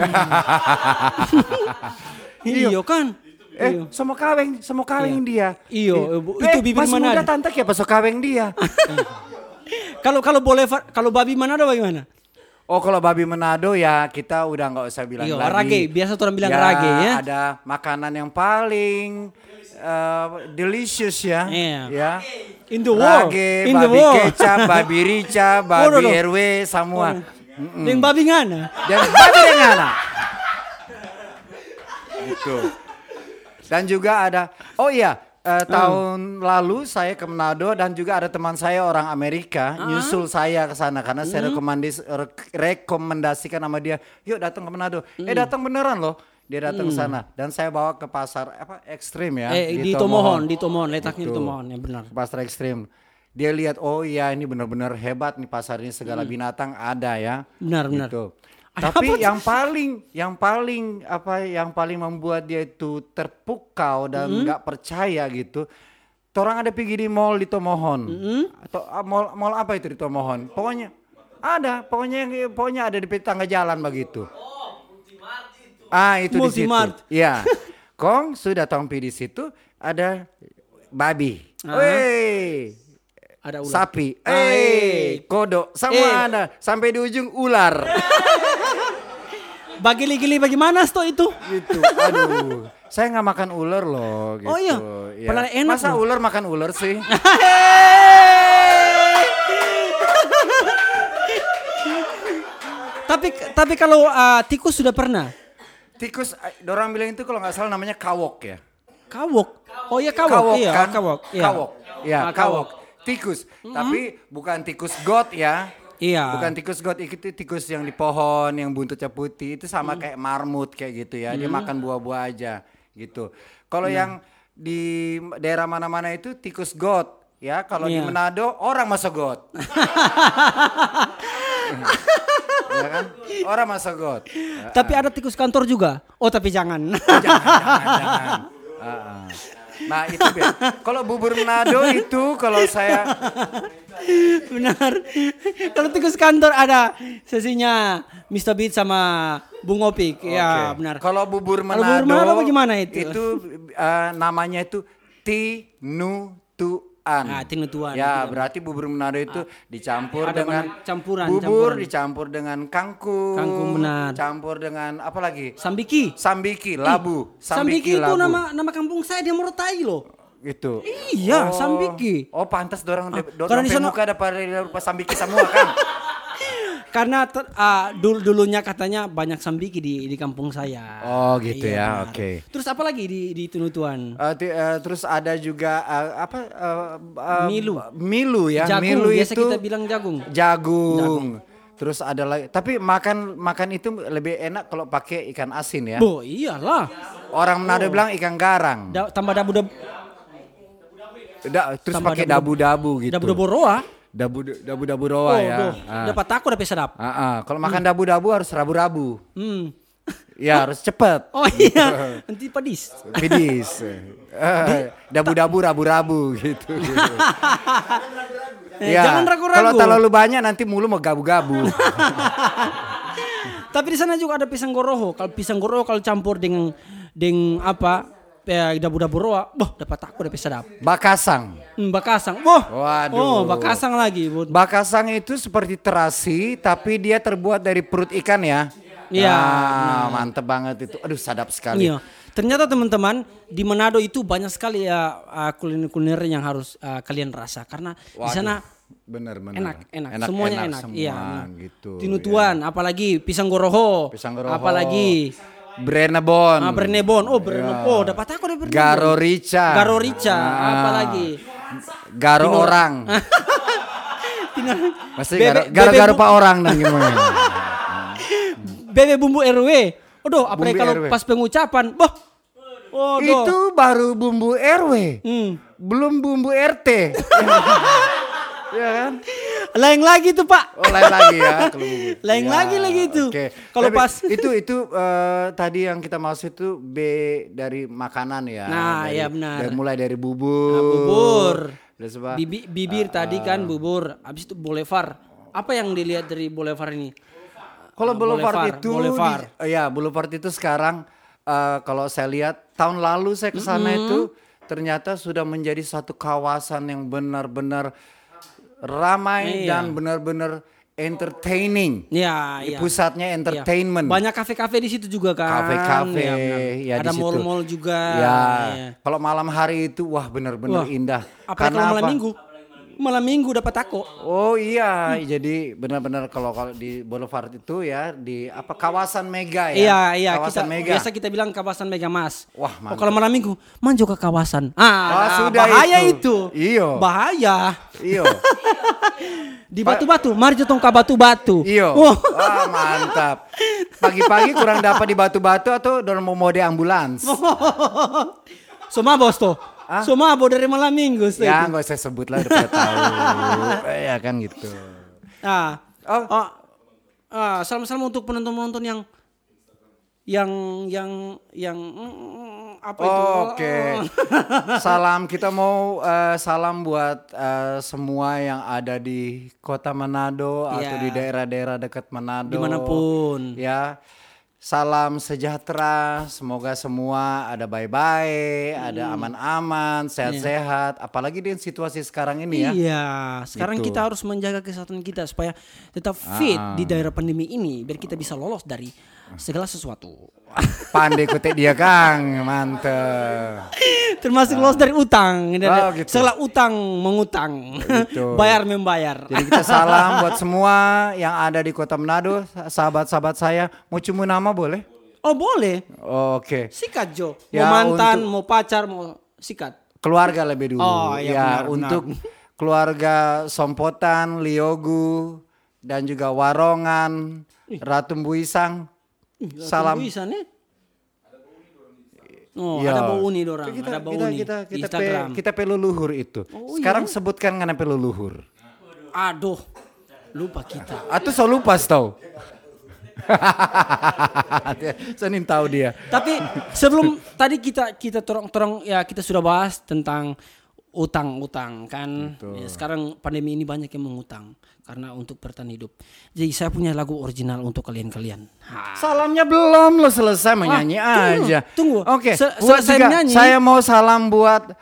Iya kan?
Eh,
Iyo. Iya.
semua kaweng, semua kaweng dia.
Iyo,
Eh,
bu-
eh,
itu bibir
masih
mana
muda
ada?
tante kayak besok kaweng dia.
Kalau kalau boleh Far- kalau babi mana ada bagaimana?
Oh kalau babi Manado ya kita udah nggak usah bilang
Iya,
lagi.
rage. Biasa tuh orang bilang rage, ya.
Ada makanan yang paling eh, delicious ya.
Iya.
Ya.
In the world.
Rage,
In the
babi
world. Oh,
kecap, babi rica,
Waduh,
babi
duh.
RW
Oh.
semua.
Yang ya? babi ngana.
Dan babi rengana. gitu. Dan juga ada oh iya
Hmm.
eh, tahun lalu saya ke Manado dan juga ada teman saya orang Amerika
Ah.
nyusul saya ke sana karena
Hmm.
saya rekomendis, rek- rekomendasikan sama dia, yuk datang ke Manado.
Hmm.
Eh datang beneran loh. Dia datang ke sana dan saya bawa ke pasar apa ekstrim ya Gitu.
Eh, di Tomohon, di Tomohon, letaknya di Tomohon, ya benar.
ke pasar ekstrim. Dia lihat oh iya ini benar-benar hebat nih pasar ini segala binatang ada ya.
Benar, benar.
Gitu.
Ada
Tapi
apa sih?
yang paling yang paling apa yang paling membuat dia itu terpukau dan nggak percaya gitu Torang ada pergi di mall di Tomohon. Atau ah, mall mall apa itu di Tomohon? Pokoknya ada, pokoknya yang- pokoknya ada di tangga jalan begitu. Ah, itu
Multimart.
di situ. Iya. Kong sudah tong pergi di situ ada babi.
Ah.
Wey.
Ada ular.
Sapi,
Ah, eh.
eh, kodok,
Eh.
sama ada sampai di ujung ular.
Bagi gili bagaimana sto itu?
gitu. Aduh, saya nggak makan ular loh. Gitu.
Oh iya? Padahal enak
Masa
loh.
ular makan ular sih?
tapi tapi kalau uh, tikus sudah pernah
Tikus, eh, orang bilang itu kalau nggak salah namanya kawok ya.
kawok. Oh iya kawok, iya
kan?
kawok, iya.
Kawok, ya
Ah, Hmm?
kawok. Tikus, tapi bukan tikus got ya.
Iya.
Bukan tikus got itu tikus yang di pohon yang buntutnya putih itu sama kayak marmut kayak gitu ya. Dia makan buah-buah aja gitu. Kalau yang di daerah mana-mana itu tikus got ya. Kalau di
Iya.
Manado orang masuk got. ya kan? Orang masuk got.
Tapi
ah.
ada tikus kantor juga. Oh tapi jangan.
Jangan-jangan. Nah itu Beb. kalau bubur Manado itu kalau saya
Benar. Kalau tikus kantor ada sesinya Mr. Beat sama Bung Opik. Ya,
Oke.
benar.
Kalau bubur
Kalau
Manado,
bubur Manado bagaimana itu?
Itu eh, namanya itu tinutuan.
Ah, tinutuan,
Ya,
tinutuan.
berarti bubur Manado itu dicampur
Ada
dengan
mana- campuran,
Bubur
campuran.
dicampur dengan kangkung.
Kangkung, benar.
Campur dengan apa lagi?
Sambiki.
Sambiki, labu.
Sambiki, itu
labu.
nama nama kampung saya di Morotai loh.
gitu.
Iya, Sambiki.
Oh, pantas dorang dorang
karena di
sampai
sana-
muka ada pada rupa sambiki semua kan.
Karena ter- ah, dul- dulunya katanya banyak sambiki di di kampung saya. Iya,
Oh, gitu ya,
benar.
oke.
Terus apa lagi di di Tinutuan?
Eh, ti- eh, terus ada juga eh, apa eh, eh,
Milu.
milu ya
jagung,
milu
biasa
itu
kita bilang jagung.
jagung. Terus ada lagi, tapi makan makan itu lebih enak kalau pakai ikan asin ya.
Bo, iyalah.
Orang Manado bilang ikan garang.
Oh. Da- tambah dabu dabu
Da- terus
tambah
pakai
dabu-
dabu-dabu gitu.
dabu Oh, dabu roa.
Dabu dabu dabu roa ya.
doh.
Ah.
Dapat aku dapat sedap.
Ah, ah. Kalau makan dabu-dabu harus rabu-rabu.
Hmm.
Ya harus cepet.
Oh iya, nanti pedis.
Pidis. Eh, dabu-dabu rabu-rabu gitu.
Eh, Jangan
Ya, Kalau
ragu-ragu.
terlalu banyak nanti mulu mau gabu-gabu.
Tapi di sana juga ada pisang goroho. Kalau pisang goroho kalau campur dengan dengan apa? Eh, dabu-dabu roa, boh dapat aku dapat sedap.
Bakasang.
Hmm, bakasang, boh.
Waduh.
Oh, bakasang lagi, Bu.
Bakasang itu seperti terasi tapi dia terbuat dari perut ikan ya.
Iya,
Ah, mantep banget itu. Aduh sadap sekali.
Iya. Ternyata teman-teman di Manado itu banyak sekali ya uh, kuliner-kuliner yang harus uh, kalian rasa karena di
Waduh,
sana
bener bener.
enak, enak, semuanya enak.
Semua,
iya. benar.
gitu. Iya.
Tinutuan, apalagi pisang goroho.
Pisang goroho.
Apalagi
Brenebon.
ah, Bernebon. Oh,
Iya.
Bernebon. Oh, dapat aku deh Bernebon.
Garo rica.
Garo rica,
Ah.
apalagi.
Garo
Tinor-
orang.
Tinggal
Masih
bebek-
garo garo,
bebek
garo
bu-
pak orang dan gimana?
Bebek bumbu RW. Aduh, apalagi
Bumbu
kalau
RW.
pas pengucapan, boh. Oh,
itu baru bumbu RW.
Hmm.
Belum bumbu RT. Iya kan?
Lain lagi tuh, Pak.
Oh lain lagi ya kalau bubur.
Lain lagi lagi itu.
oke.
Kalau
Tapi
pas-
itu itu eh, tadi yang kita maksud itu B dari makanan ya.
Nah,
Dari-
iya benar. Nah,
dari- mulai dari bubur.
bubur.
Terus apa?
Bibi- bibir tadi
Ah.
kan bubur. Habis itu boulevard. Apa yang dilihat dari boulevard ini?
Kalau
Ah,
boulevard
boulevard,
itu
boulevard.
di- eh, ya boulevard itu sekarang eh, kalau saya lihat tahun lalu saya ke sana itu ternyata sudah menjadi satu kawasan yang benar-benar ramai
Iya.
dan benar-benar entertaining.
Ya,
Di
ya.
pusatnya entertainment.
Ya. Banyak kafe-kafe di situ juga kan.
kafe-kafe
Ya,
ya,
benar.
di
Ada
situ.
mall-mall juga.
ya,
Ya.
kalau malam hari itu wah benar-benar
Wah,
indah
Apalagi ya kalau malam minggu. Malam minggu dapat tako.
oh iya
Hmm.
jadi benar-benar kalau kalau di Boulevard itu ya di apa kawasan mega ya
Iya, iya.
kawasan
Kita,
mega
biasa kita bilang kawasan Mega Mas.
Wah,
oh,
mantap.
kalau malam minggu, manjo ke kawasan. Ah,
Ah, sudah
bahaya itu.
itu. Iyo.
Bahaya.
iyo
Di batu-batu, mari jotong ke batu-batu. Oh,
iyo
Wah.
wah mantap pagi-pagi kurang dapat di batu-batu atau dorong mau mode ambulans
Semua bos tuh. Semua bos dari malam minggu tuh
Ah. ya
itu.
nggak usah sebut lah udah pada tahu Eh, ya kan gitu
Ah.
Oh.
Ah. Ah, salam-salam untuk penonton-penonton yang yang yang yang mm, apa itu?
Oke. salam kita mau eh, salam buat eh, semua yang ada di Kota Manado atau
Iya.
di daerah-daerah dekat Manado.
Dimanapun.
Ya. Salam sejahtera. Semoga semua ada bye-bye,
Hmm.
ada aman-aman, sehat-sehat. Apalagi di situasi sekarang ini ya. Gitu.
Iya, sekarang
Itu.
kita harus menjaga kesehatan kita supaya tetap fit
Ah.
di daerah pandemi ini biar kita bisa lolos dari segala sesuatu.
Pandai kutek dia Kang, mantep.
Termasuk lolos dari utang, dari
Ah. Oh, gitu.
segala utang mengutang,
Gitu.
bayar membayar.
Jadi kita salam buat semua yang ada di Kota Manado, sahabat-sahabat saya. Mau cuma nama boleh?
Oh boleh,
Oke.
sikat Jo. Mau
Ya,
mantan, mau pacar, mau sikat.
Keluarga lebih dulu.
Oh,
ya,
iya, benar,
untuk keluarga Sompotan, Liogu dan juga Warongan, Ratu Buisang. Salam.
Tunggu Isan, ya. Oh,
Ya.
ada bau uni dorang,
Kita
ada bau
kita
uni
kita kita, pe,
di Instagram. Oh, iya?
kita peluluhur itu. Sekarang sebutkan karena peluluhur.
Aduh, lupa kita.
Atau selalu lupa tau. Senin tahu dia.
Tapi sebelum tadi kita kita torong-torong ya kita sudah bahas tentang utang-utang kan. Ya, sekarang pandemi ini banyak yang mengutang karena untuk bertahan hidup. Jadi saya punya lagu original untuk kalian-kalian. Ha.
Salamnya belum lo selesai menyanyi
Ah, tunggu,
aja.
tunggu.
Oke.
Se-
buat
selesai
juga,
menyanyi.
Saya mau salam buat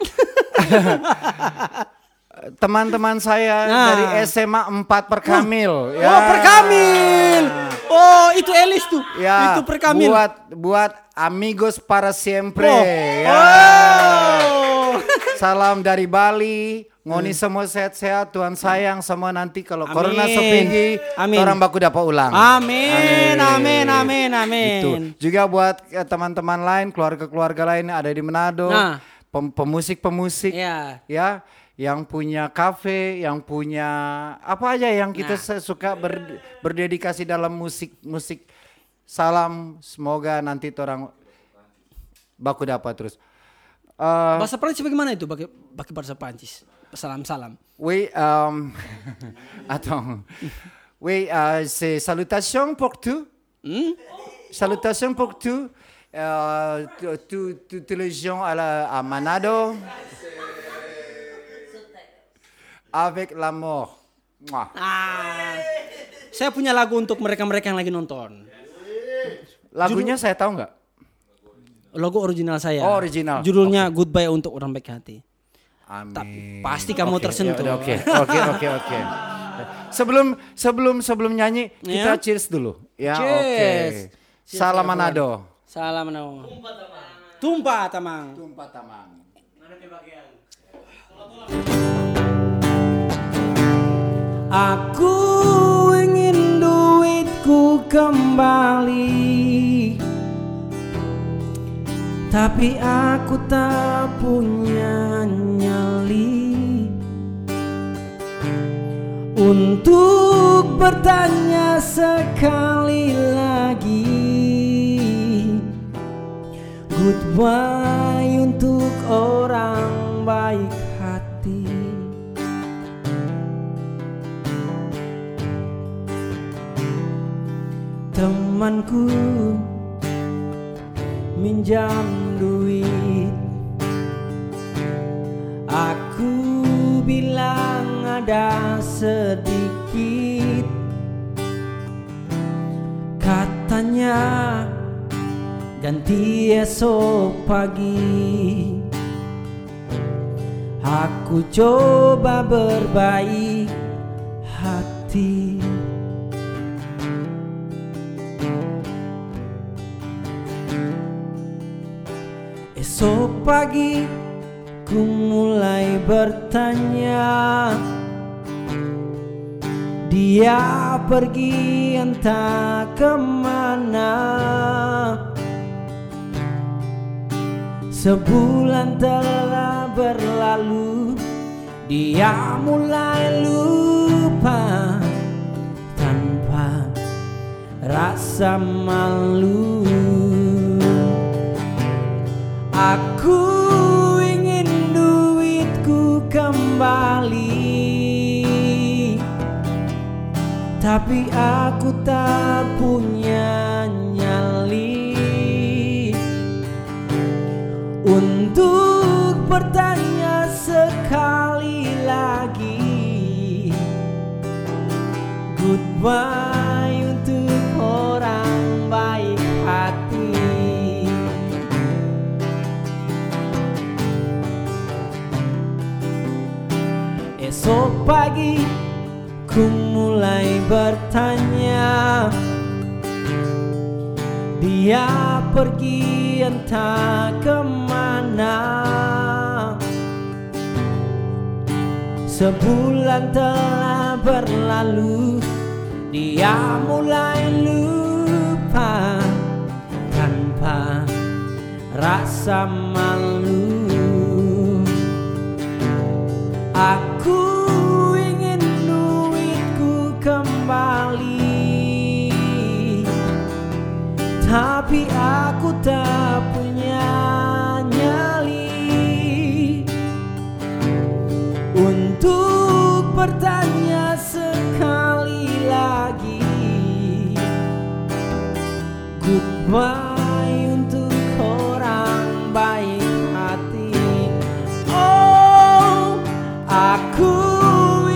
teman-teman saya
Nah.
dari SMA 4 Perkamil.
Oh, Perkamil. Oh, itu Elis tuh.
Ya.
Itu Perkamil.
Buat buat amigos para siempre.
Oh.
ya.
Oh.
Salam dari Bali. Ngoni semua sehat-sehat, Tuhan sayang semua nanti kalau
Hmm. Amin.
corona sepinggi,
Amin.
orang baku dapat ulang.
Amin, amin, amin, amin.
Gitu. Juga buat eh, teman-teman lain, keluarga-keluarga lain yang ada di Manado,
Nah.
pem- pemusik-pemusik,
Ya.
ya, yang punya kafe, yang punya apa aja yang kita
Nah.
se- suka ber- berdedikasi dalam musik-musik. Salam, semoga nanti orang baku dapat terus. Eh,
Bahasa Prancis bagaimana itu? Pakai pakai bahasa Prancis. Salam-salam.
Oui, euh, attends. Oui, euh, c'est salutations pour tout.
Hmm?
Salutations pour tout. Euh, tout- tout- Toutes les gens à, la- à Manado. Avec la mort. Mouah.
Ah. Saya punya lagu untuk mereka-mereka yang lagi nonton.
Lagunya saya tahu nggak?
Logo original saya.
Oh, original.
Judulnya Goodbye untuk orang baik hati.
Amin.
Pasti kamu
Oke,
tersentuh.
yaudah, Oke, oke, oke, oke. Sebelum sebelum sebelum nyanyi kita
Ya.
cheers dulu. Ya, oke.
Cheers. Cheers, ya,
Salam
kawan.
Manado.
Salam Nao. Tumpah tamang.
Tumpah tamang.
Aku ingin duitku kembali. Tapi aku tak punya nyali Untuk bertanya sekali lagi Goodbye untuk orang baik hati Temanku minjam duit Aku bilang ada sedikit Katanya ganti esok pagi Aku coba berbaik hati Esok pagi ku mulai bertanya Dia pergi entah kemana Sebulan telah berlalu Dia mulai lupa Tanpa rasa malu Aku ingin duitku kembali Tapi aku tak punya nyali untuk bertanya sekali lagi goodbye untuk orang baik hati Esok pagi ku mulai bertanya Dia pergi entah kemana Sebulan telah berlalu Dia mulai lupa Tanpa rasa malu Aku ingin duitku kembali Tapi aku tak punya nyali Untuk bertanya sekali lagi Goodbye untuk orang baik hati Oh, aku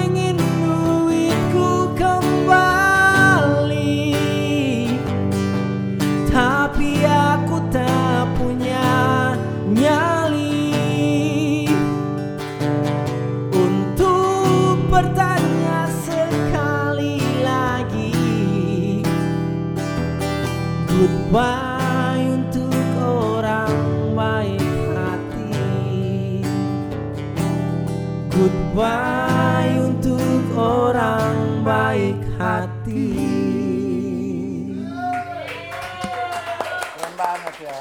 ingin duitku kembali Tapi aku tak punya nyali Untuk bertanya sekali lagi Goodbye untuk orang baik hati Goodbye untuk orang baik hati
Keren banget ya.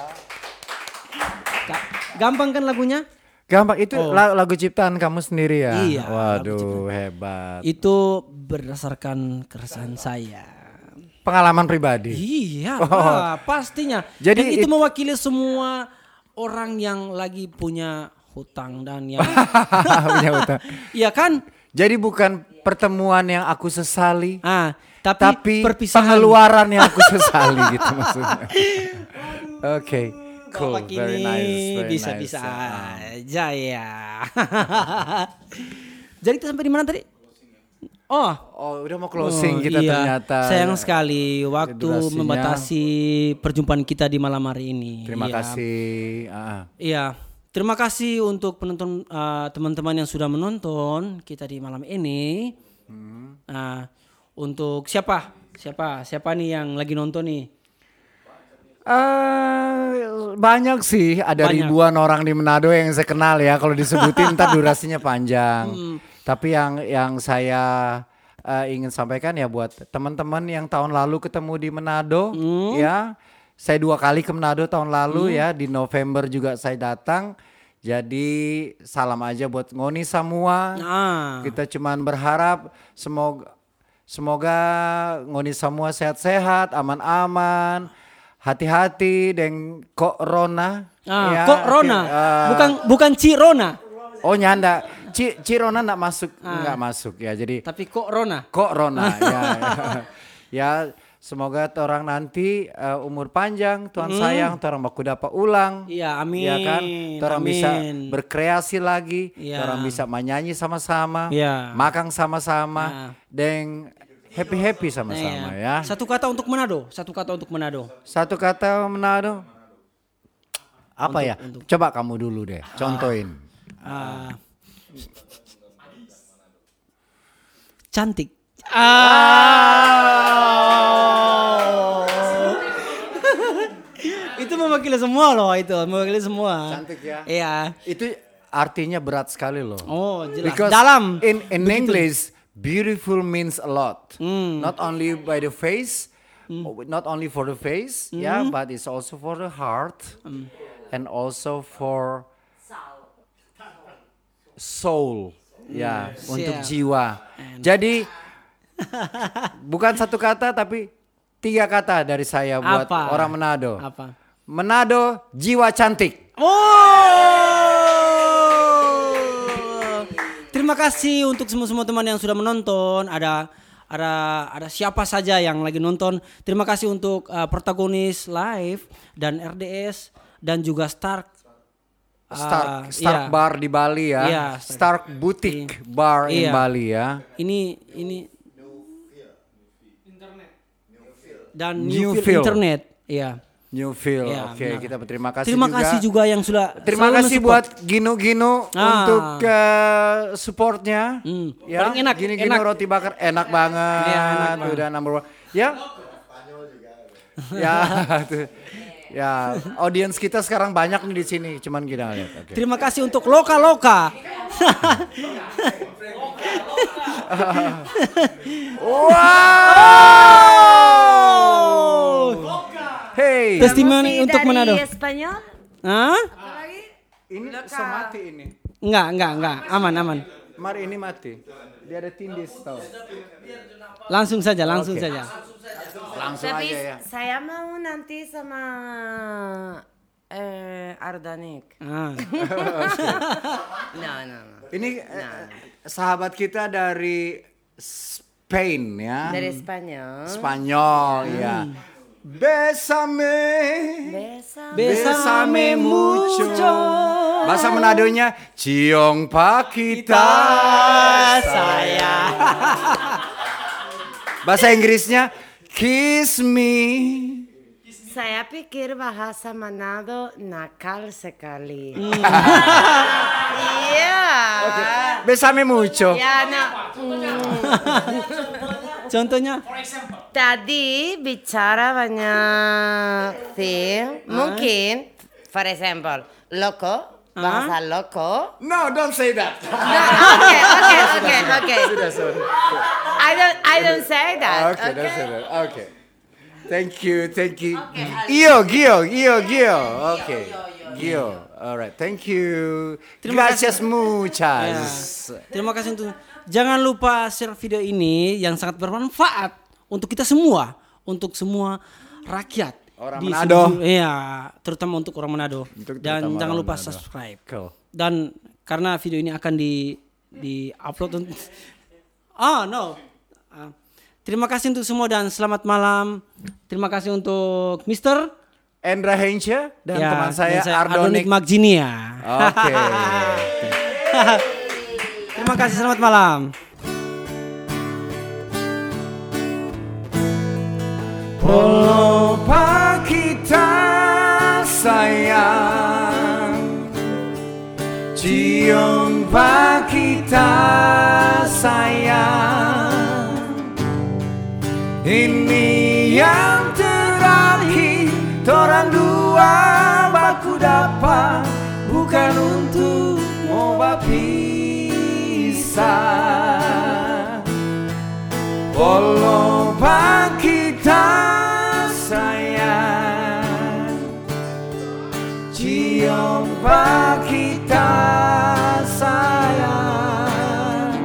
Gampang kan lagunya?
Gampang itu la- lagu ciptaan kamu sendiri ya.
Oh. Iya, lagu
Waduh, hebat.
Itu berdasarkan keresahan saya
Pengalaman pribadi.
Iya
Oh.
lah, pastinya
Jadi
Dan itu
it-
mewakili semua orang yang lagi punya hutang dan yang
Punya utang.
Iya kan?
Jadi bukan pertemuan yang aku sesali,
Ah, tapi,
tapi
perpisahan
pengeluaran yang aku sesali gitu maksudnya. Oke, cool,
Bapak
very
ini
nice, very
bisa-bisa
nice. Ah.
aja ya. Jadi kita sampai di mana tadi? Oh,
Oh, udah mau closing
oh,
kita
iya.
ternyata. ya.
Sayang sekali waktu
Durasinya.
membatasi perjumpaan kita di malam hari ini.
Terima
Iya.
kasih. Ah.
Iya. Terima kasih untuk penonton eh, teman-teman yang sudah menonton kita di malam ini.
Hmm.
Nah, untuk siapa? Siapa? Siapa nih yang lagi nonton nih?
Eh, banyak sih, ada
Banyak.
ribuan orang di Manado yang saya kenal ya. Kalau disebutin ntar durasinya panjang. Tapi yang yang saya eh, ingin sampaikan ya buat teman-teman yang tahun lalu ketemu di Manado ya. Saya dua kali ke Manado tahun lalu ya, di November juga saya datang. Jadi salam aja buat Ngoni semua.
Nah,
Kita cuman berharap semoga semoga ngoni semua sehat-sehat, aman-aman. Hati-hati dengan corona.
ah,
Ya,
kok Rona?
ti- eh,
bukan bukan Cirona,
Oh, nyanda. Ci, Cirona enggak masuk,
Ah.
enggak masuk ya. Jadi
tapi kok Rona.
corona ya. ya, semoga orang nanti eh, umur panjang, Tuhan
Hmm.
sayang, orang baku dapat ulang.
Iya, amin.
Iya kan, orang bisa berkreasi lagi,
Iya.
orang bisa menyanyi sama-sama,
Iya.
makan sama-sama, deng happy happy sama-sama ya.
Iya. Satu kata untuk Manado, satu kata untuk Manado.
Satu kata Manado, apa ya? Coba kamu dulu deh, contohin.
Ah. Cantik. Ah. itu mewakili semua loh itu, mewakili semua.
Cantik ya.
Iya.
Itu artinya berat sekali loh.
Oh, jelas.
Because
Dalam.
in in English, beautiful means a lot.
Hmm.
Not only by the face, not only for the face,
Hmm.
yeah, but it's also for the heart, and also for soul, ya, untuk
Yeah.
jiwa. Jadi bukan satu kata tapi tiga kata dari saya buat
Apa?
orang Manado.
Apa?
Manado jiwa cantik.
Oh. Terima kasih untuk semua semua teman yang sudah menonton. Ada ada ada siapa saja yang lagi nonton. Terima kasih untuk uh, protagonis live dan RDS dan juga Stark
Stark,
Ah,
Stark
iya.
Bar di Bali ya.
Iya,
Stark Boutique Bar in
Iya.
Bali ya.
ini ini dan
New
new,
Feel.
Feel internet ya
Newfield.
Ya,
Oke,
benar.
kita terima kasih
terima
juga.
kasih juga yang sudah
Terima
selalu
kasih
mensupport.
buat Gino-Gino
Ah.
untuk eh, supportnya.
Hmm. Paling enak,
Gini-gino
enak.
roti bakar enak banget.
Iya, enak banget.
Udah number one. Ya. ya. tuh. ya, audiens kita sekarang banyak nih di sini, cuman kita nggak lihat. Oke.
Terima kasih untuk Loka Loka.
Wow. Hey.
Testimoni
Promosi
untuk
dari
Manado.
Ah,
Spanyol.
Hah?
Ini bisa mati ini.
Enggak, enggak, enggak. Aman, aman.
Mari ini mati. Dia ada tindis tau.
Langsung saja, langsung
Oke.
saja.
Langsung
Tapi
aja ya.
saya mau nanti sama eh, Ardanik.
Ah.
No, no, no.
Ini eh, sahabat kita dari Spain ya.
Dari Hmm. Spanyol.
Spanyol ya. Besame.
Besame.
Besame
Besame
mucho.
mucho.
Bahasa Menadonya Ciong Pakita
saya.
Bahasa Inggrisnya Kiss me.
Saya pikir bahasa Manado nakal sekali. Iya.
Besame mucho.
Ya, no. Mm.
Contohnya
Tadi bicara banyak thing. Mungkin, for example, loko. Bahasa loko.
No, don't say that.
No, okay, okay, okay, okay.
Sudah, sudah.
I don't, I don't
Ah,
say that.
okay, that's it. Okay. Thank you, thank you. Gio, Gio, Gio, Gio. Okay. Gio. All right. Thank you.
Terima
Gracias
Ya.
muchas.
Terima kasih untuk Jangan lupa share video ini yang sangat bermanfaat untuk kita semua, untuk semua rakyat
Orang
di
Manado.
seluruh- Iya, terutama untuk orang Manado.
Untuk
Dan
terutama
jangan
orang
lupa
Manado.
subscribe.
Cool.
Dan karena video ini akan di di upload Oh, no. Ah, Terima kasih untuk semua dan selamat malam. Terima kasih untuk Mister
Endra Hensha dan
Ya,
teman saya Ardonik.
Ardonik Magjinia.
Oke.
Terima kasih selamat malam.
Polo kita sayang Cium pak kita sayang Ini yang terakhir Torang dua baku dapat Bukan untuk mau berpisah Walau pak kita sayang Cium pak kita sayang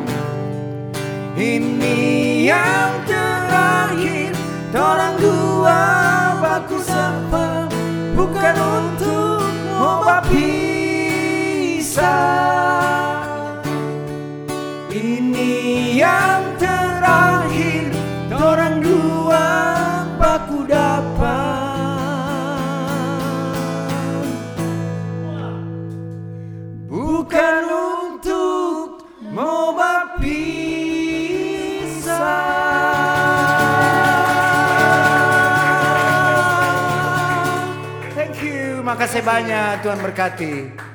Ini yang terakhir Orang dua baku sapa Bukan untuk mau berpisah ini yang terakhir Orang dua baku dapat Bukan untuk mau berpisah Thank you, makasih banyak Tuhan berkati